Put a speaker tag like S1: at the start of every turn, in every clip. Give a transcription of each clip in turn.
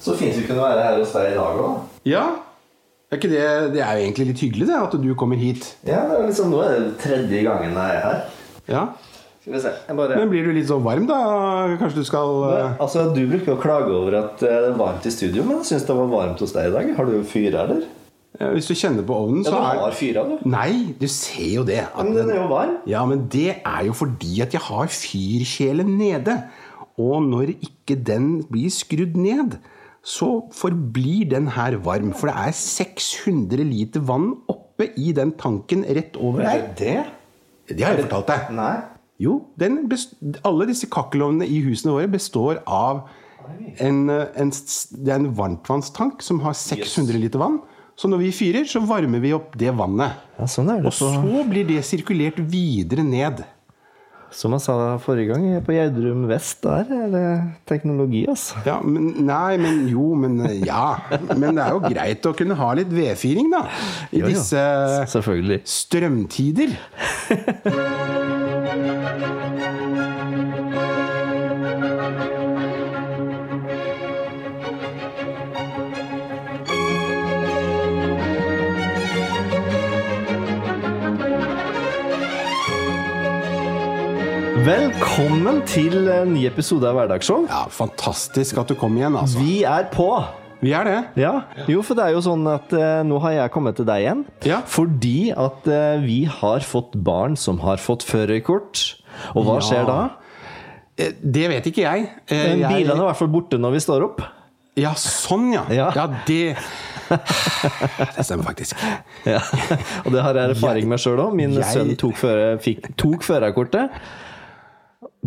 S1: Så fint vi kunne være her hos deg i dag òg.
S2: Ja. Er ikke det, det er jo egentlig litt hyggelig det, at du kommer hit.
S1: Ja, det er liksom, nå er det tredje gangen jeg er her.
S2: Ja.
S1: Skal vi se. Jeg bare...
S2: Men blir du litt så varm, da? Kanskje du skal eh,
S1: Altså, Du bruker å klage over at eh, det er varmt i studio, men jeg syns det var varmt hos deg i dag. Har du fyr, eller?
S2: eh, Hvis du kjenner på ovnen,
S1: Ja,
S2: så
S1: du
S2: er
S1: har fyra, du.
S2: Nei, du ser jo det. at
S1: Men den er jo varm.
S2: Ja, men det er jo fordi at jeg har fyrkjelen nede. Og når ikke den blir skrudd ned, så forblir den her varm. For det er 600 liter vann oppe i den tanken rett over
S1: Er
S2: her.
S1: det det?
S2: Det har jeg fortalt deg.
S1: Nei.
S2: Jo, den best, alle disse kakkelovnene i husene våre består av en, eh, en, s- det er en varmtvannstank som har 600 liter vann. Så når vi fyrer, så varmer vi opp det vannet.
S1: Ja, sånn er
S2: Og så blir det sirkulert videre ned.
S1: Som jeg sa forrige gang, på Gjerdrum vest der er det teknologi, altså.
S2: Ja, men, nei, men jo, men eh, ja. Men det er jo greit å kunne ha litt vedfyring, da. I
S1: jo.
S2: disse
S1: Eh. Selvfølgelig.
S2: strømtider.
S1: Velkommen til en ny episode av Hverdagsshow.
S2: Ja, fantastisk at du kom igjen, altså.
S1: Vi er på!
S2: Vi er det.
S1: Ja. Jo, for det er jo sånn at eh, nå har jeg kommet til deg igjen.
S2: Ja.
S1: Fordi at eh, vi har fått barn som har fått førerkort. Og hva
S2: Ja.
S1: skjer da?
S2: Eh, Det vet ikke jeg. Eh,
S1: Men
S2: jeg-
S1: Bilene er i hvert fall borte når vi står opp.
S2: Ja, sånn, ja.
S1: Ja.
S2: det Det stemmer faktisk.
S1: Ja. Og det har jeg erfaring med sjøl òg. Min
S2: Jeg-
S1: sønn tok, føre, fikk, tok førerkortet.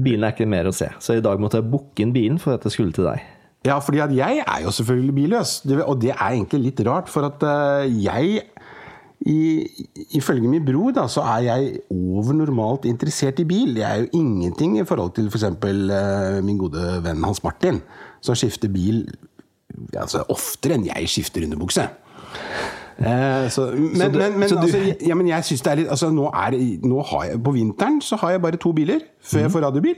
S1: Bilen er ikke mer å se, så i dag måtte jeg booke inn bilen for at jeg skulle til deg.
S2: Ja, fordi at jeg er jo selvfølgelig billøs. Det, og det er egentlig litt rart, for at eh, jeg i, Ifølge min bror da, så er jeg over normalt interessert i bil. Jeg er jo ingenting i forhold til f.eks. For uh, min gode venn Hans Martin, som skifter bil altså, oftere enn jeg skifter underbukse. Eh, så, men,
S1: du-
S2: men, men,
S1: så du-
S2: altså, ja, men jeg synes det er litt altså, nå er, det- nå har jeg, På vinteren så har jeg bare to biler før
S1: Mhm.
S2: jeg får radiobil.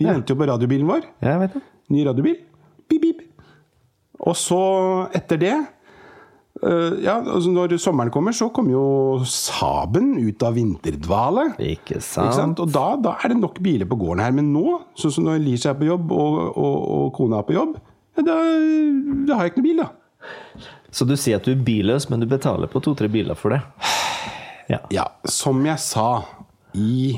S2: Vi venter jo på radiobilen vår.
S1: Ja, jeg vet det.
S2: Ny radiobil. Bip, bip. Og så, etter det eh, ja, altså Når sommeren kommer, så kommer jo Saben ut av vinterdvale.
S1: Ikke
S2: Ikke
S1: sant?
S2: sant? Og da, da er det nok biler på gården her. Men nå, sånn som når Lisha er på jobb, og, og, og kona er på jobb, ja, da, da har jeg ikke noen bil, da.
S1: Så du sier at du er billøs, men du betaler på to-tre biler for det. Ja.
S2: Ja, som jeg sa i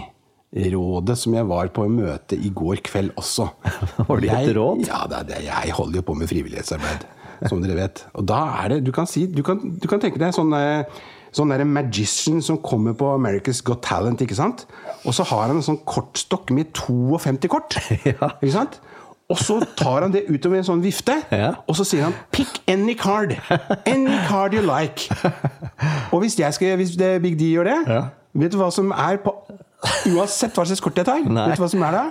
S2: rådet som jeg var på møte i går kveld også.
S1: Var det et
S2: Jeg-
S1: råd?
S2: Ja, det er det. jeg holder jo på med frivillighetsarbeid, som dere vet. Og da er det Du kan, si, du kan, du kan tenke deg sånn eh, Sånn der magician som kommer på America's Got Talent, ikke sant? Og så har han en sånn kortstokk med 52 kort. Ikke sant? Og så tar han det utover en sånn vifte,
S1: Ja.
S2: og så sier han 'pick any card'. Any card you like. Og hvis, jeg skal, hvis det Big D gjør det,
S1: Ja.
S2: vet du hva som er på Uansett hva slags kort jeg tar,
S1: Nei.
S2: vet du hva som er da?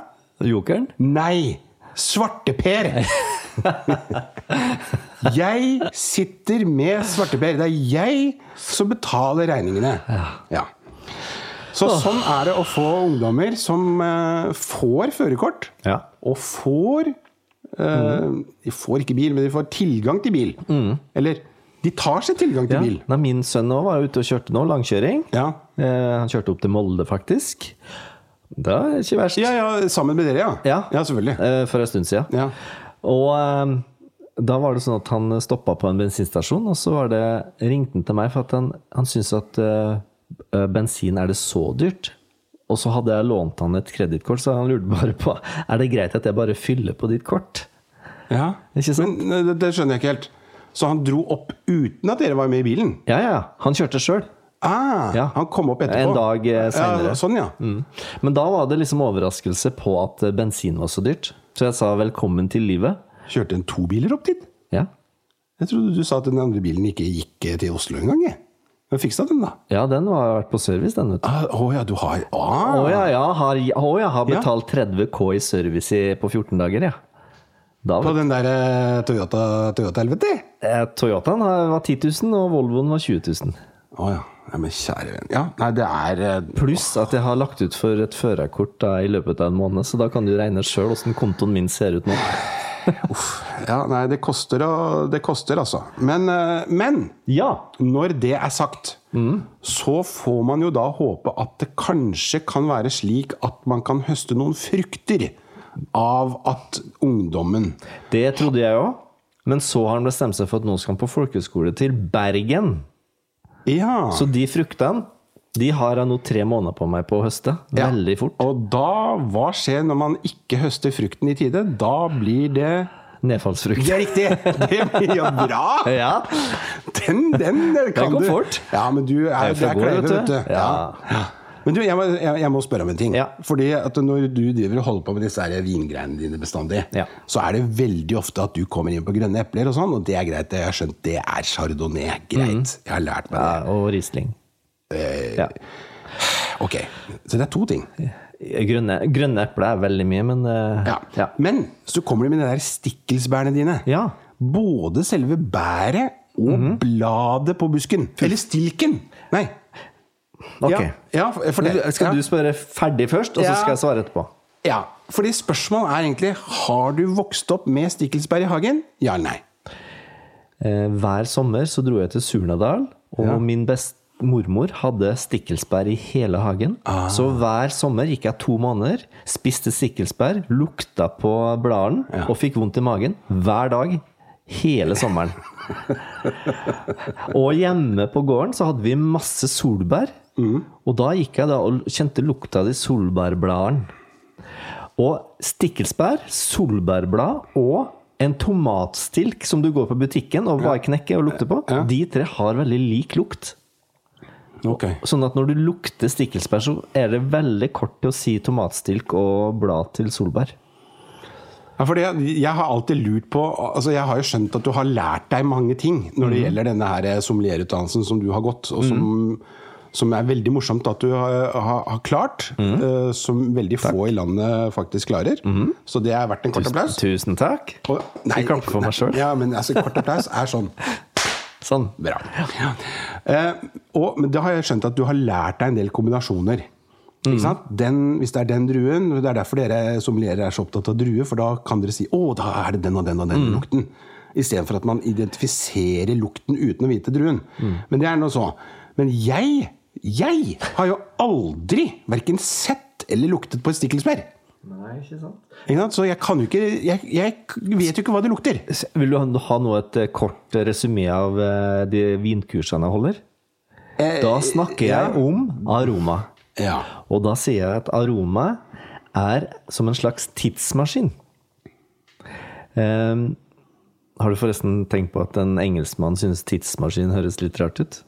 S1: Jokeren?
S2: Nei! Svarteper! jeg sitter med svarteper. Det er jeg som betaler regningene. Ja. Så sånn er det å få ungdommer som eh, får førerkort,
S1: Ja.
S2: og får eh,
S1: Mm.
S2: De får ikke bil, men de får tilgang til bil. Eller de tar seg tilgang til
S1: Ja.
S2: bil.
S1: Nei, min sønn nå var ute og kjørte nå, langkjøring.
S2: Ja.
S1: Eh, han kjørte opp til Molde, faktisk. Det er ikke verst.
S2: Ja, ja, sammen med dere, ja.
S1: Ja.
S2: selvfølgelig.
S1: Eh, for en stund siden.
S2: Ja.
S1: Og eh, da var det sånn at han stoppa på en bensinstasjon, og så var det, ringte han til meg for at han, han syntes at eh, eh, bensin er det så dyrt. Og så hadde jeg lånt han et kredittkort, så han lurte bare på Er det greit at jeg bare fyller på ditt kort.
S2: ja.
S1: Ikke sant?
S2: Men eh, det, det skjønner jeg ikke helt. Så han dro opp uten at dere var med i bilen?
S1: Ja, ja. Han kjørte sjøl.
S2: Ah,
S1: Ja.
S2: Han kom opp etterpå?
S1: En dag eh, seinere.
S2: ja, Sånn, ja.
S1: Mm. Men da var det liksom overraskelse på at eh, bensin var så dyrt. Så jeg sa velkommen til livet.
S2: Kjørte en to biler opp dit?
S1: Ja,
S2: Jeg trodde du sa at den andre bilen ikke gikk eh, til Oslo engang. jeg. Men fiksa den, da?
S1: ja den har vært på service, den. vet du.
S2: Å ah, å ja, du har
S1: Å
S2: ah.
S1: ja, ja, har, å ja, har
S2: Ja.
S1: betalt 30 K i service i, på 14 dager, ja. Da
S2: På
S1: var,
S2: den der eh, Toyota Toyota helvete?
S1: eh, Toyotaen har- var 10 000, og Volvoen var 20 000.
S2: Å ja. Nei, men kjære venn. Ja, nei, det er eh,
S1: Pluss at jeg har lagt ut for et førerkort da, i løpet av en måned, så da kan du regne sjøl åssen kontoen min ser ut nå.
S2: Ja, nei, det koster, å- det koster altså. Men, eh, men
S1: Ja!
S2: når det er sagt, så får man jo da håpe at det kanskje kan være slik at man kan høste noen frukter av at ungdommen
S1: Det trodde jeg òg. Men så har han bestemt seg for at nå skal han på folkehøyskole til Bergen.
S2: Ja!
S1: Så de fruktene de har jeg nå tre måneder på meg på å høste.
S2: Ja.
S1: Veldig fort.
S2: Og da, hva skjer når man ikke høster frukten i tide? Da blir det
S1: Nedfallsfrukt.
S2: Det er riktig! Det blir jo bra!
S1: Ja.
S2: Den, den kan
S1: kom
S2: du.
S1: fort.
S2: Ja, men du er,
S1: er
S2: det er
S1: for god,
S2: kløyve,
S1: vet du.
S2: vet du.
S1: Ja.
S2: Ja. Ja. Men du, jeg må, jeg, jeg må spørre om en ting.
S1: Ja.
S2: Fordi at Når du driver og holder på med disse her vingreiene dine bestandig,
S1: Ja.
S2: så er det veldig ofte at du kommer inn på grønne epler, og sånn, og det er greit. Jeg har skjønt det er chardonnay. Greit. Jeg har lært
S1: Mm.
S2: meg
S1: ja,
S2: det.
S1: og Riesling.
S2: Eh,
S1: Ja.
S2: Ok, Så det er to ting.
S1: Grønne, grønne epler er veldig mye, men eh,
S2: Ja.
S1: ja.
S2: Men så kommer du med de der stikkelsbærene dine.
S1: Ja. Mhm.
S2: Både selve bæret og bladet på busken. Eller stilken! Nei.
S1: Ok.
S2: Ja, ja, for det, ja.
S1: Skal du spørre ferdig først, og så
S2: Ja.
S1: skal jeg svare etterpå?
S2: Ja, fordi spørsmålet er egentlig Har du vokst opp med stikkelsbær i hagen? Ja eller nei?
S1: Eh, hver sommer så dro jeg til Surnadal, og min best mormor hadde stikkelsbær i hele hagen. Så hver sommer gikk jeg to måneder, spiste stikkelsbær, lukta på bladene og fikk vondt i magen hver dag. Hele sommeren. og hjemme på gården så hadde vi masse solbær. Og da gikk jeg da og kjente lukta av de solbærbladene. Og stikkelsbær, solbærblad og en tomatstilk som du går på butikken og bare knekker og lukter på, de tre har veldig lik lukt.
S2: Ok.
S1: Sånn at når du lukter stikkelsbær, så er det veldig kort til å si tomatstilk og blad til solbær.
S2: Ja, fordi jeg, jeg har alltid lurt på altså Jeg har jo skjønt at du har lært deg mange ting når
S1: Mhm.
S2: det gjelder denne her eh, sommelierutdannelsen som du har gått, og som, som er veldig morsomt at du har, har, har klart.
S1: Mhm.
S2: eh, som veldig få i landet faktisk klarer. Så det er verdt en kort applaus.
S1: Tusen takk.
S2: Og-
S1: Jeg klapper for meg selv.
S2: Ja, men altså, kort applaus er sånn
S1: Sånn.
S2: Bra. Eh, og, men da har jeg skjønt at du har lært deg en del kombinasjoner. Ikke sant? Den, hvis det er den druen Det er derfor dere sommelierer er så opptatt av druer, for da kan dere si 'Å, da er det den og den og den lukten'. Istedenfor at man identifiserer lukten uten å vite druen. Men det er nå så. Men jeg, jeg har jo aldri verken sett eller luktet på et stikkelsbær.
S1: Nei, ikke sant.
S2: Ikke sant? Så jeg kan jo ikke jeg, jeg vet jo ikke hva det lukter.
S1: Vil du ha- ha nå et eh, kort resymé av eh, de vinkursene jeg holder?
S2: Eh,
S1: Da snakker jeg om aroma.
S2: Ja.
S1: Og da sier jeg at aroma er som en slags tidsmaskin. Ehm, har du forresten tenkt på at en engelskmann syns tidsmaskin høres litt rart ut?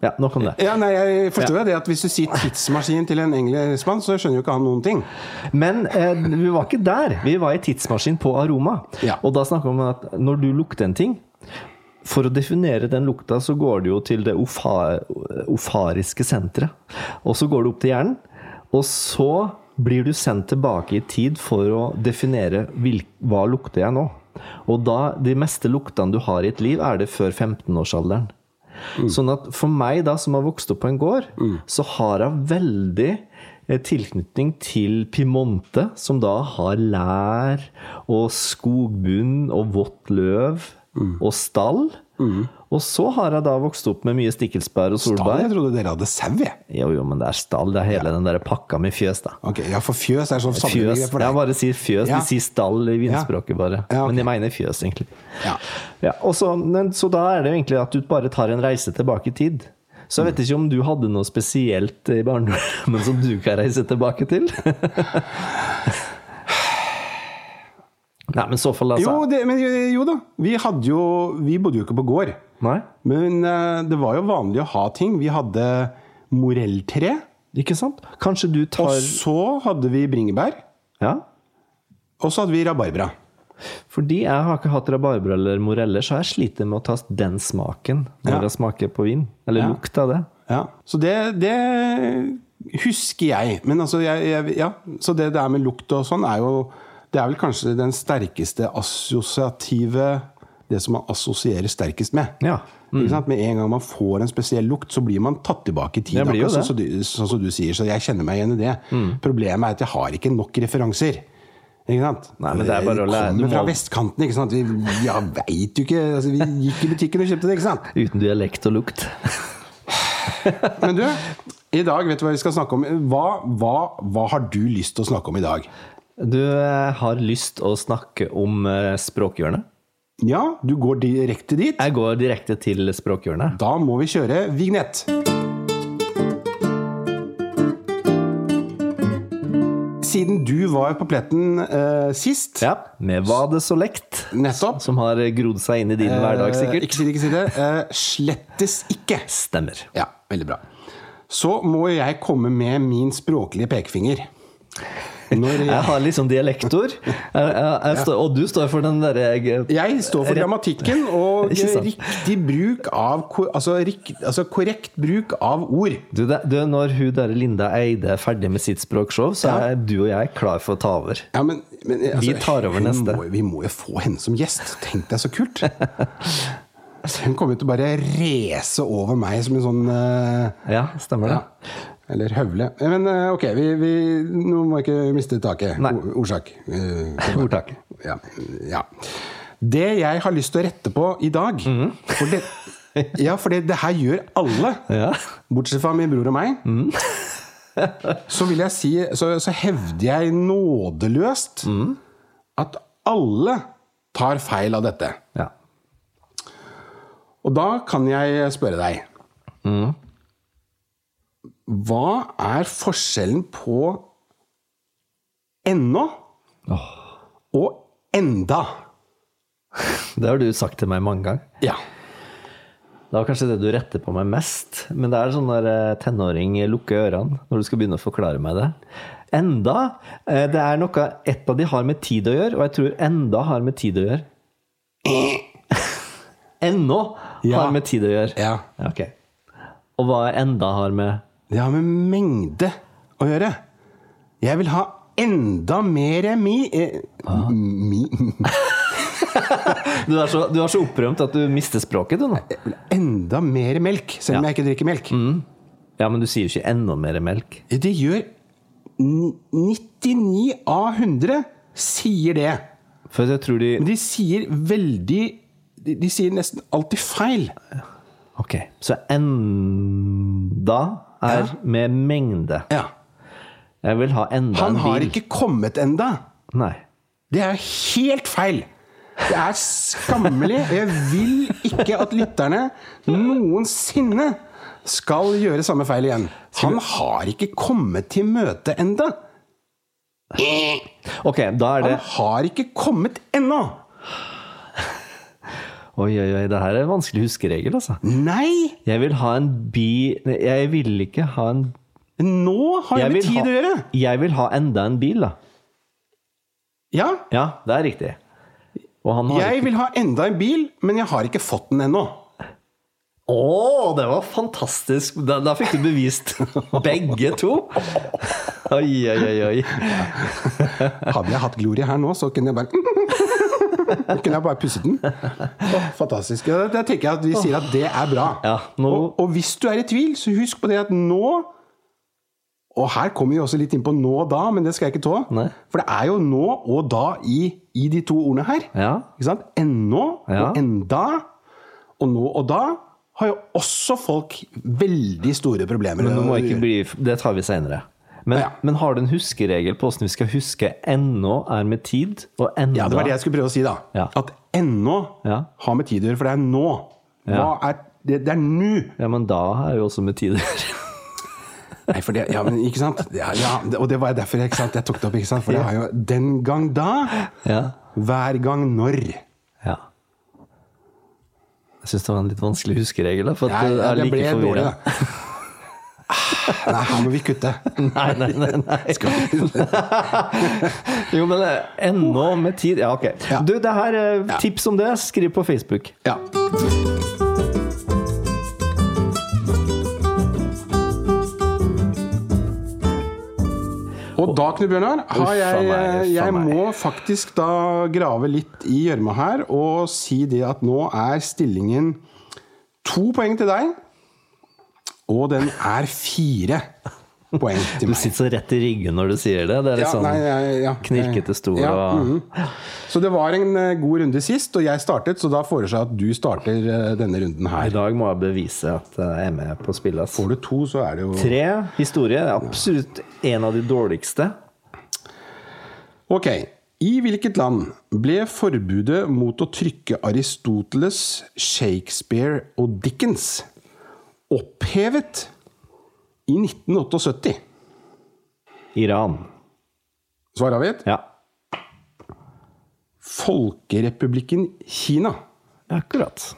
S1: Ja, nok om det.
S2: Ja, nei, jeg forstår jo det at Hvis du sier tidsmaskin til en engelskmann, så skjønner jo ikke han noen ting.
S1: Men eh, vi var ikke der. Vi var i tidsmaskin på aroma.
S2: Ja.
S1: Og da snakker vi om at når du lukter en ting For å definere den lukta, så går du jo til det ofa, ofariske senteret. Og så går du opp til hjernen. Og så blir du sendt tilbake i tid for å definere hvil, hva lukter jeg nå. Og da, de meste luktene du har i et liv, er det før 15-årsalderen. Sånn at for meg da, som har vokst opp på en gård, så har jeg veldig eh, tilknytning til Piemonte, som da har lær og skogbunn og vått løv
S2: Mm.
S1: og stall. Og så har jeg da vokst opp med mye stikkelsbær og
S2: Da
S1: solbær.
S2: jeg trodde dere hadde sau, jeg.
S1: Jo, jo, men det er stall. Det er hele den der pakka med fjøs, da.
S2: Ok, ja, for fjøs er sånn
S1: Fjøs.
S2: samlebegrep for
S1: Jeg
S2: deg.
S1: bare sier fjøs.
S2: Ja.
S1: De sier stall i vinspråket, bare.
S2: Ja, ok.
S1: Men jeg mener fjøs, egentlig.
S2: Ja.
S1: Ja, og så, men, så da er det jo egentlig at du bare tar en reise tilbake i tid. Så jeg vet ikke om du hadde noe spesielt i barndommen som du kan reise tilbake til? Nei, men så fall,
S2: Jo,
S1: altså.
S2: det, men, jo da. Vi, hadde jo, vi bodde jo ikke på gård.
S1: Nei?
S2: Men eh, det var jo vanlig å ha ting. Vi hadde morelltre.
S1: Ikke sant? Kanskje du
S2: Og
S1: tar
S2: så hadde vi bringebær.
S1: Ja?
S2: Og så hadde vi rabarbra.
S1: Fordi jeg har ikke hatt rabarbra eller moreller, så jeg sliter med å ta den smaken når
S2: Ja.
S1: jeg smaker på vin. Eller lukt av det.
S2: Ja. Så det, det husker jeg. Men altså, jeg, jeg, ja. Så det der med lukt og sånn er jo Det er vel kanskje den sterkeste assosiative Det som man assosierer sterkest med.
S1: Ja. Mm.
S2: Ikke sant? Med en gang man får en spesiell lukt, så blir man tatt tilbake i tid.
S1: Det blir jo
S2: akkurat
S1: det. Mm.
S2: Sånn, som du- sånn som du sier, så jeg kjenner meg igjen i det. Problemet er at jeg har ikke nok referanser. Ikke sant?
S1: Nei, men det er bare å lære-
S2: Vi
S1: du
S2: kommer fra
S1: må-
S2: vestkanten, ikke sant. Vi, ja, veit jo ikke altså, Vi gikk i butikken og kjøpte det, ikke sant.
S1: Uten dialekt og lukt.
S2: Men du, i dag, vet du hva vi skal snakke om? Hva, hva, hva har du lyst til å snakke om i dag?
S1: Du eh, har lyst å snakke om eh, språkhjørnet.
S2: Ja, du går direkte dit.
S1: Jeg går direkte til språkhjørnet.
S2: Da må vi kjøre vignett. Siden du var på pletten eh, sist
S1: Ja, med hva det så lekt,
S2: Nettopp.
S1: som har grodd seg inn i din hverdag,
S2: Eh,
S1: sikkert.
S2: Ikke si det, ikke si det. Eh, slettes ikke.
S1: Stemmer.
S2: Ja, veldig bra. Så må jeg komme med min språklige pekefinger. Når
S1: Jeg har liksom dialektord, jeg, jeg, jeg står, og du står for den derre jeg-
S2: Jeg står for grammatikken og
S1: Ikke sant?
S2: riktig bruk av ko- altså, rik- altså korrekt bruk av ord.
S1: du, det, du, Når hun der Linda Eide er ferdig med sitt språkshow, så er du og jeg klar for å ta over.
S2: Ja, men, men, altså,
S1: Vi tar over
S2: hun
S1: neste.
S2: Må, vi må jo få henne som gjest. Tenk deg så kult. Hun kommer jo til å bare race over meg som en sånn eh,
S1: Ja, stemmer det.
S2: ja, Eller høvle. Men eh, ok, vi, vi, nå må jeg ikke miste taket.
S1: Nei.
S2: O- Ordsak. Eh,
S1: Ordtak.
S2: Ja, ja. Det jeg har lyst til å rette på i dag
S1: Mhm.
S2: for det, Ja, for det, det her gjør alle,
S1: Ja. Mhm.
S2: bortsett fra min bror og meg. så vil jeg si Så, så hevder jeg nådeløst
S1: Mhm.
S2: at alle tar feil av dette.
S1: ja.
S2: Og da kan jeg spørre deg Hva er forskjellen på ennå
S1: Åh,
S2: og enda?
S1: det har du sagt til meg mange ganger.
S2: Ja.
S1: Det var kanskje det du retter på meg mest, men det er sånn der eh, tenåring lukker ørene når du skal begynne å forklare meg det. Enda. eh, Det er noe et av de har med tid å gjøre, og jeg tror enda har med tid å gjøre. Ennå
S2: Ja.
S1: har med tid å gjøre.
S2: Ja.
S1: Ok. Og hva er enda har med
S2: Det har med mengde å gjøre. Jeg vil ha enda mer mi... Eh, mi
S1: Du er så, du er så opprømt at du mister språket, du nå.
S2: enda mer melk, selv om jeg ikke drikker melk.
S1: Ja, men du sier jo ikke enda mer melk.
S2: Det gjør ni- 99 av 100 sier det.
S1: For jeg tror de
S2: Men de sier veldig De, de sier nesten alltid feil.
S1: Ok. Så enda er med mengde.
S2: Ja.
S1: Jeg vil ha enda en
S2: Han
S1: bil.
S2: har ikke kommet enda.
S1: Nei.
S2: Det er jo helt feil! Det er skammelig. Jeg vil ikke at lytterne noensinne skal gjøre samme feil igjen. Han har ikke kommet til møtet enda.
S1: Ok, da er det
S2: Han har ikke kommet ennå!
S1: Oi, oi, oi, det her er en vanskelig huskeregel, altså.
S2: Nei!
S1: Jeg vil ha en bi... Nei, Jeg vil ikke ha en
S2: Nå har det
S1: jeg
S2: med
S1: vil
S2: tid å gjøre!
S1: Jeg vil ha enda en bil, da.
S2: Ja,
S1: Ja, det er riktig. Og han har
S2: jeg vil ha enda en bil, men jeg har ikke fått den ennå.
S1: Å, det var fantastisk! Da, da fikk du bevist begge to. Oi, oi, oi. oi.
S2: Hadde jeg hatt Gloria her nå, så kunne jeg bare Kunne jeg bare pusset den. Åh, fantastisk. Ja, Det det tenker jeg at vi sier at det er bra.
S1: Ja, nå
S2: Og, og hvis du er i tvil, så husk på det at nå Og her kommer vi også litt inn på nå og da, men det skal jeg ikke tå.
S1: Nei.
S2: For det er jo nå og da i, i de to ordene her.
S1: Ja.
S2: Ikke sant? Ennå
S1: Ja.
S2: og enda. Og nå og da har jo også folk veldig store problemer.
S1: Men nå må
S2: å
S1: jeg ikke
S2: gjøre.
S1: bli Det tar vi seinere. Men,
S2: Ja.
S1: men har du en huskeregel på åssen vi skal huske 'ennå er med tid', og 'enda'
S2: Ja, det var det jeg skulle prøve å si, da.
S1: Ja.
S2: At ennå
S1: Ja.
S2: har med tid å gjøre, for det er nå. Hva er det, det er nå!
S1: Ja, men da er jo også med tid å gjøre.
S2: Nei, for det, ja, men ikke sant? Ja, ja, det- og det var derfor ikke sant? jeg tok det opp. ikke sant? For det har jo den gang da,
S1: Ja.
S2: hver gang når.
S1: ja. Jeg syns det var en litt vanskelig huskeregel. da, For at
S2: Nei,
S1: det er
S2: det
S1: like
S2: ble dårlig,
S1: forvirrende.
S2: da. Ah, Nei, her må vi kutte.
S1: Nei, nei, nei, nei. Jo, men eh, ennå med tid Ja, ok.
S2: Ja.
S1: Du, det her, eh, tips om det, skriv på Facebook.
S2: Ja. Og da, Knut Bjørnar, har
S1: Uffa
S2: jeg, eh,
S1: meg, uffa
S2: jeg
S1: meg.
S2: må faktisk da grave litt i gjørma her og si det at nå er stillingen to poeng til deg. Og den er fire poeng til
S1: Du
S2: meg.
S1: sitter så rett i ryggen når du sier det. Det er litt
S2: Ja,
S1: sånn
S2: nei, jeg- ja.
S1: knirkete stol
S2: Ja, mhm.
S1: og
S2: Så det var en eh, god runde sist, og jeg startet, så da foreslår jeg at du starter eh, denne runden
S1: I
S2: her.
S1: dag må jeg bevise at eh, jeg er med på spillet. ass.
S2: Får du to, så er det jo
S1: Tre historier er absolutt en av de dårligste.
S2: Ok. I hvilket land ble forbudet mot å trykke Aristoteles, Shakespeare og Dickens opphevet i 1978?
S1: Iran.
S2: Svar avgitt?
S1: Ja,
S2: Folkerepublikken Kina.
S1: akkurat.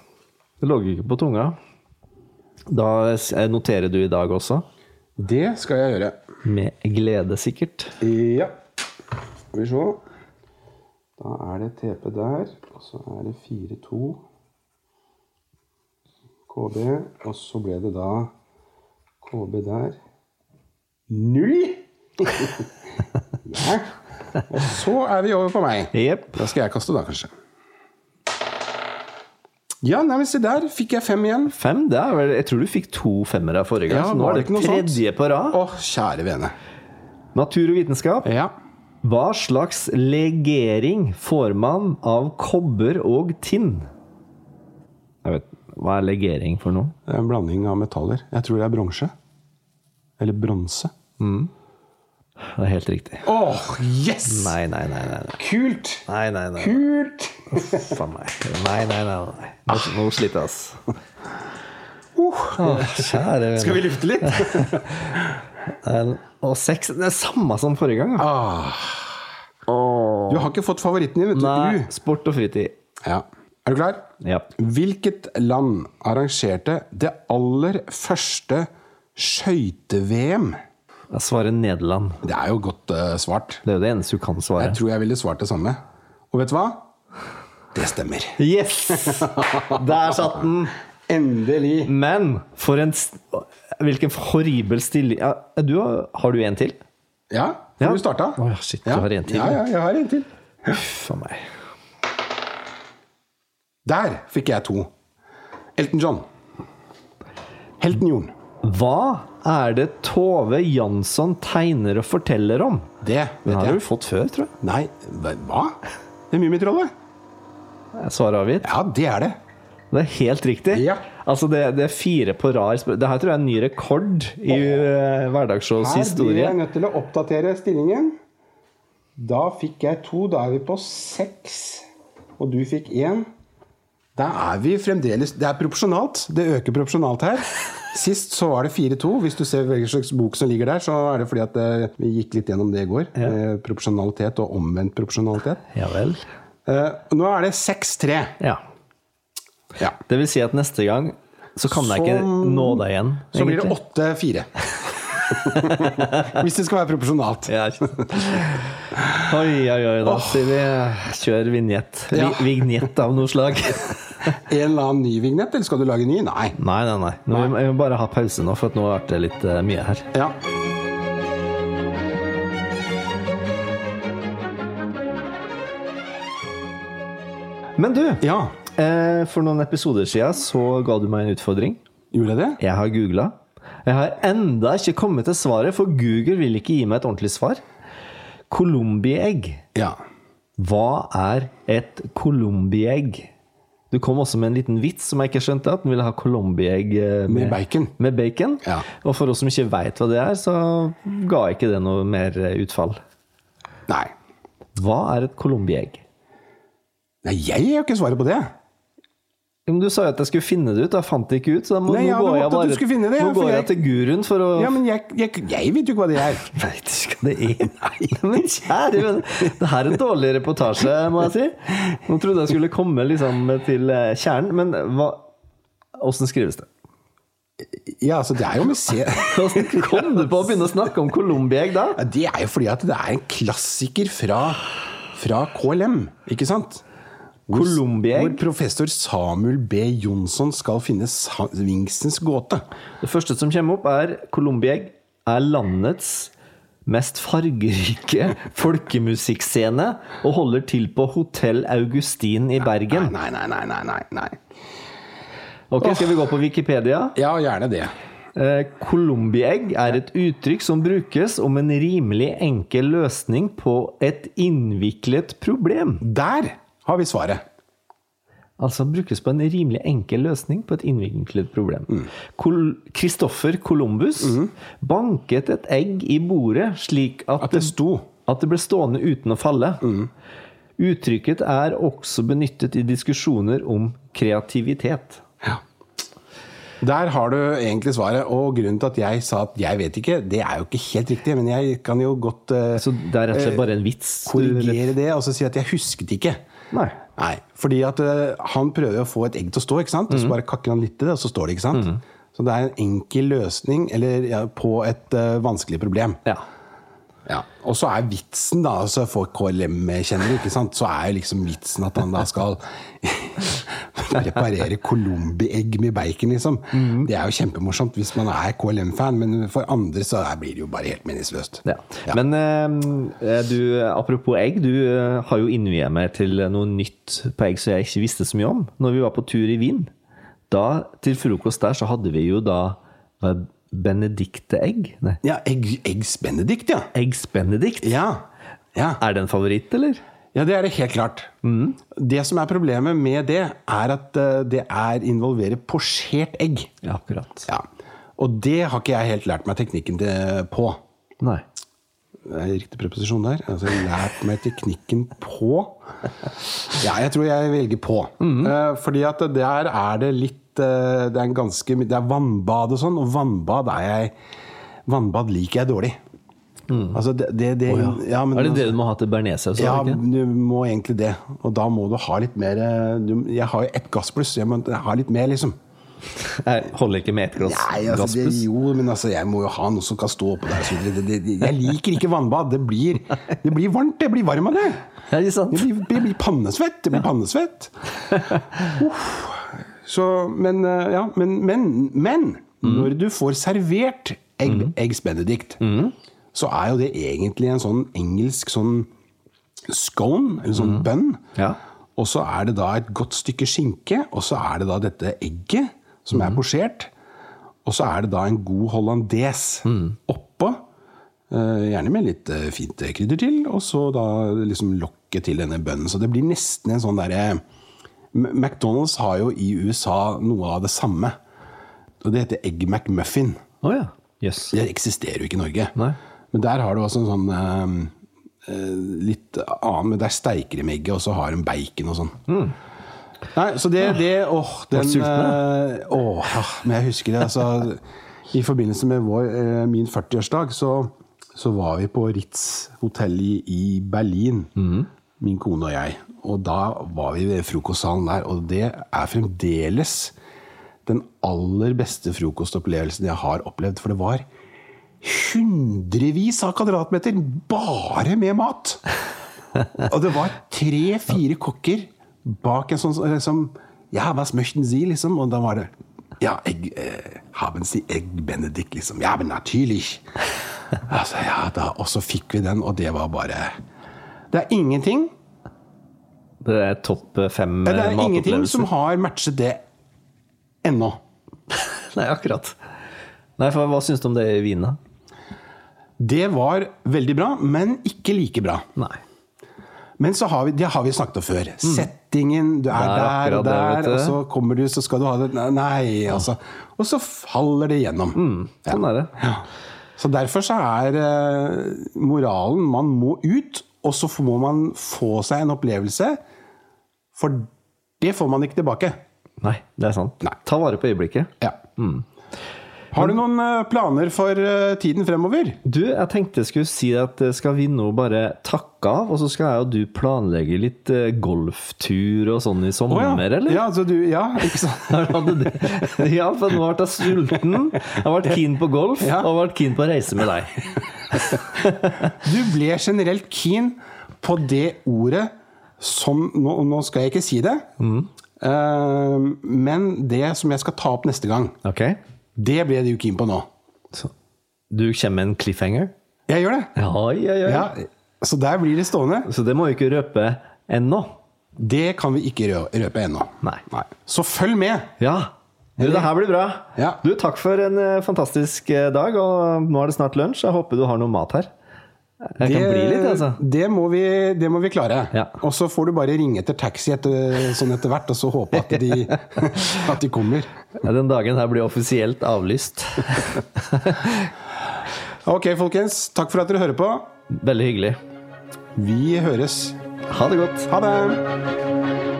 S1: Det lå jo ikke på tunga. Da s- noterer du i dag også.
S2: Det skal jeg gjøre.
S1: Med glede, sikkert.
S2: Ja. Skal vi se. Da er det TP der, og så er det 4-2 KB, og så ble det da KB der. Null! ja. Og så er vi over på meg.
S1: Jepp.
S2: Da skal jeg kaste, da, kanskje. Ja, nei, men se der fikk jeg fem igjen.
S1: Fem, det er vel Jeg tror du fikk to femmere forrige gang,
S2: Ja,
S1: så nå er
S2: var det
S1: det
S2: ikke noe sånt?
S1: tredje på rad.
S2: Å, kjære vene.
S1: Natur og vitenskap.
S2: Ja.
S1: Hva slags legering får man av kobber og tinn? Jeg vet Hva er legering for noe?
S2: Det er en blanding av metaller. Jeg tror det er bronse. Eller bronse.
S1: Det er helt riktig.
S2: Åh, yes!
S1: Nei, nei, nei. nei, nei.
S2: Kult!
S1: Nei, nei, nei.
S2: Kult!
S1: Faen meg. Nei, nei, nei. nei. Nå, nå sliter jeg, ass. Åh, kjære
S2: Uh,
S1: vene.
S2: Skal vi lufte litt?
S1: Eh, Og seks Det er samme som forrige gang. da.
S2: Du har ikke fått favoritten din, vet du.
S1: Nei,
S2: Ah, U.
S1: sport og fritid.
S2: Ja. Er du klar?
S1: Ja.
S2: Hvilket land arrangerte det aller første skøyte-VM?
S1: Jeg svarer Nederland.
S2: Det er jo godt eh, svart.
S1: Det er jo det eneste du kan svare.
S2: Jeg tror jeg ville svart det samme. Og vet du hva? Det stemmer.
S1: Yes! Der satt den.
S2: Endelig.
S1: Men for en st- Hvilken horribel stilling ja, du, har- Har du en til?
S2: Ja,
S1: Ja.
S2: har du starta?
S1: Åh, shit, du har en til.
S2: Ja, ja, jeg har en til.
S1: Uff a meg.
S2: Der fikk jeg to. Elton John. Helten Jorn.
S1: Hva er det Tove Jansson tegner og forteller om?
S2: Det
S1: Den
S2: vet
S1: har
S2: jeg.
S1: du fått før, tror jeg.
S2: Nei, hva? Det er Mummitrollet?
S1: Jeg svarer avgitt.
S2: Ja, det er det.
S1: Det er helt riktig.
S2: Ja.
S1: Altså, det, det er fire på rar sp- Det her tror jeg er en ny rekord i eh, hverdagsshowets historie.
S2: nødt til å oppdatere stillingen. Da fikk jeg to. Da er vi på seks. Og du fikk én. Da er vi fremdeles Det er proporsjonalt. Det øker proporsjonalt her. Sist så var det 4-2. Hvis du ser hvilken slags bok som ligger der, så er det fordi at eh, vi gikk litt gjennom det i går. Eh, Proporsjonalitet og omvendt proporsjonalitet.
S1: Ja vel.
S2: Eh, Nå er det 6-3.
S1: Ja.
S2: Ja.
S1: Det vil si at neste gang så kan jeg
S2: Så-
S1: ikke nå deg igjen.
S2: Så blir det
S1: egentlig.
S2: 8-4. Hvis det skal være proporsjonalt.
S1: Ja, ikke sant. Oi, oi, oi. Da sier vi eh, kjør vignett. Vi,
S2: Ja.
S1: Vignett av noe slag.
S2: En eller annen ny vignett, eller skal du lage en ny? Nei.
S1: Nei, nei, nei. Nå, vi må- vi må bare ha pause nå, for at nå ble det litt eh, mye her.
S2: Ja.
S1: Men du,
S2: ja.
S1: eh, for noen episoder siden så ga du meg en utfordring.
S2: Gjorde jeg det?
S1: Jeg har googla. Jeg har enda ikke kommet til svaret, for Google vil ikke gi meg et ordentlig svar. Colombiegg.
S2: Ja.
S1: Hva er et colombiegg? Du kom også med en liten vits som jeg ikke skjønte, at den ville ha colombiegg eh,
S2: Med bacon.
S1: Med bacon.
S2: Ja.
S1: Og for oss som ikke veit hva det er, så ga ikke det noe mer eh, utfall.
S2: Nei.
S1: Hva er et colombiegg?
S2: Nei, jeg har jo ikke svaret på det.
S1: Jo, men Du sa jo at jeg skulle finne det ut, da fant det ikke ut. Så da må,
S2: Nei, ja,
S1: nå
S2: det
S1: går jeg,
S2: måtte at du
S1: bare,
S2: skulle finne det, ja,
S1: nå
S2: for
S1: går jeg
S2: jeg-
S1: til guruen for å
S2: Ja, men jeg, jeg, jeg vet jo ikke hva det er.
S1: Nei, det er ikke det er. Nei, men kjære venn, det her er en dårlig reportasje, må jeg si. Nå trodde jeg skulle komme liksom til eh, kjernen, men hva Åssen skrives det?
S2: Ja, altså, det er jo med C. Ja,
S1: Hvordan kom du på å begynne å snakke om Colombiegg da?
S2: Det er jo fordi at det er en klassiker fra, fra KLM, ikke sant? Hvor- Hvor
S1: Colombiegg.
S2: professor Samuel B. Jonsson skal finne sa- Wingsens gåte.
S1: Det første som kommer opp, er Colombiegg er landets mest fargerike folkemusikkscene og holder til på Hotell Augustin i Bergen.
S2: Nei, nei, nei, nei, nei, nei.
S1: Ok, Skal vi gå på Wikipedia?
S2: Ja, gjerne det.
S1: Eh, Kolumbieegg er et uttrykk som brukes om en rimelig enkel løsning på et innviklet problem.
S2: Der har vi svaret.
S1: Altså brukes på en rimelig enkel løsning på et innviklet problem.
S2: Mm.
S1: Kristoffer Columbus
S2: Mhm.
S1: banket et egg i bordet slik at,
S2: At det sto. Mhm.
S1: at det ble stående uten å falle. Uttrykket er også benyttet i diskusjoner om kreativitet.
S2: Der har du egentlig svaret. Og grunnen til at jeg sa at jeg vet ikke, det er jo ikke helt riktig. Men jeg kan jo godt eh,
S1: Så det er rett og slett bare en vits?
S2: korrigere det og så si at jeg husket ikke.
S1: Nei.
S2: Nei, fordi at eh, han prøver å få et egg til å stå, ikke sant? og så
S1: Mhm.
S2: bare kakker han litt til det, og så står det. ikke sant? Så det er en enkel løsning eller, ja, på et eh, vanskelig problem.
S1: Ja.
S2: Ja. Og så er vitsen, da, altså for KLM-kjennere, ikke sant? så er jo liksom vitsen at han da skal preparere Colombi-egg med bacon, liksom.
S1: Mhm.
S2: Det er jo kjempemorsomt hvis man er KLM-fan, men for andre så er- blir det jo bare helt meningsløst.
S1: ja. Men eh, du, apropos egg, du eh, har jo innviet meg til noe nytt på egg som jeg ikke visste så mye om. Når vi var på tur i Wien, da, til frokost der, så hadde vi jo da eh, Benedicte-egg. Nei,
S2: Ja, egg, Eggs Benedict, ja.
S1: Eggs Benedict.
S2: ja. Ja.
S1: Er det en favoritt, eller?
S2: Ja, det er det helt klart.
S1: Mhm.
S2: Det som er problemet med det, er at eh, det er involverer posjert egg.
S1: Ja, akkurat.
S2: Ja. Og det har ikke jeg helt lært meg teknikken til, på.
S1: Nei.
S2: Det er Riktig preposisjon der. Altså lært meg teknikken på. Ja, jeg tror jeg velger på.
S1: Mhm.
S2: Eh, Fordi at der er det litt eh, Det er, en ganske, my- det er vannbad og sånn, og vannbad er jeg Vannbad liker jeg dårlig. Altså det, det, det ja,
S1: Mhm.
S2: men altså-
S1: er det det du må ha til bearnéssaus?
S2: ja,
S1: Ja.
S2: du må egentlig det. Og da må du ha litt mer eh, du, Jeg har jo ett gassbluss, jeg må ha litt mer, liksom.
S1: Jeg holder ikke med ett glass
S2: Nei, altså, det,
S1: gassbluss.
S2: jo, men altså, jeg må jo ha noe som kan stå oppå der. Så det, det, det, jeg liker ikke vannbad. Det blir, det blir varmt. Det blir varm av det.
S1: Ja, ikke sant?
S2: Det blir, det blir pannesvett. Det blir pannesvett. Uff. Så, men, eh, ja, men, men, men når du får servert egg, Eggs Benedict, så er jo det egentlig en sånn engelsk sånn scone, eller sånn bønn.
S1: Ja.
S2: Og så er det da et godt stykke skinke, og så er det da dette egget som er posjert. Og så er det da en god hollandes oppå. eh, Gjerne med litt eh, fint krydder til, og så da liksom lokket til denne bønnen. Så det blir nesten en sånn derre M- McDonald's har jo i USA noe av det samme. Og det heter Egg McMuffin.
S1: Å ja. Jøss.
S2: Det eksisterer jo ikke i Norge.
S1: Nei.
S2: Men der har du også en sånn eh, eh, litt annen Men der steiker de med egget, og så har de bacon og sånn. Nei, så det, det Åh, den
S1: sulten,
S2: eh, åh, ja, Men jeg husker det, altså I forbindelse med vår, eh, min 40-årsdag, så, så var vi på Ritz hotell i, i Berlin. Min kone og jeg. Og da var vi ved frokostsalen der, og det er fremdeles den aller beste frokostopplevelsen jeg har opplevd. For det var hundrevis av kvadratmeter bare med mat! Og det var tre-fire kokker bak en sånn eh, som Ja, hva smørten sie, liksom? Og da var det Ja, egg, eh, haben sie egg benedict, liksom. Ja, men natürlich! Altså, ja, da, og så fikk vi den, og det var bare Det er ingenting
S1: Det er topp eh, fem
S2: Det er ingenting
S1: matopplevelser.
S2: som har matchet det ennå.
S1: Nei, akkurat. Nei, for hva syns du om det i Wien, da?
S2: Det var veldig bra, men ikke like bra.
S1: Nei.
S2: Men så har vi, det har vi snakket om før. Settingen, du er
S1: er
S2: der
S1: akkurat
S2: og
S1: Mm. det, vet
S2: der,
S1: du.
S2: og så kommer du, så skal du ha det Nei, Nei, altså. Og så faller det gjennom.
S1: Sånn er det.
S2: Ja. Så derfor så er eh, moralen man må ut, og så må man få seg en opplevelse. For det får man ikke tilbake.
S1: Nei, det er sant.
S2: Nei.
S1: Ta vare på øyeblikket.
S2: Ja.
S1: Mm.
S2: Har du noen eh, planer for eh, tiden fremover?
S1: Du, jeg tenkte jeg skulle si at eh, skal vi nå bare takke av, og så skal jeg og du planlegge litt eh, golftur og sånn i sommer,
S2: ja.
S1: eller?
S2: Ja, altså du, ja, ikke sant?
S1: Her hadde du- Ja, for nå ble jeg sulten. Jeg ble keen på golf,
S2: Ja.
S1: og ble keen på å reise med deg.
S2: Du ble generelt keen på det ordet som Nå, nå skal jeg ikke si det,
S1: Mm.
S2: eh, men det som jeg skal ta opp neste gang,
S1: Ok?
S2: det ble du keen på nå.
S1: Så. Du kommer med en cliffhanger?
S2: Jeg gjør det.
S1: Ja, ja, ja.
S2: Ja, så der blir det stående.
S1: Så det må vi ikke røpe ennå.
S2: Det kan vi ikke rø- røpe ennå.
S1: Nei.
S2: Så følg med!
S1: Ja. Du, det her blir bra.
S2: Ja.
S1: Du, takk for en eh, fantastisk eh, dag, og nå er det snart lunsj. Jeg håper du har noe mat her. Jeg kan bli litt, altså.
S2: det, må vi, det må vi klare.
S1: Ja.
S2: Og så får du bare ringe etter taxi etter, sånn etter hvert, og så håpe at de, at de kommer.
S1: Ja, Den dagen her blir offisielt avlyst.
S2: Ok, folkens. Takk for at dere hører på.
S1: Veldig hyggelig.
S2: Vi høres.
S1: Ha det godt.
S2: Ha det!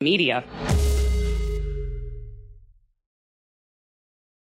S3: media.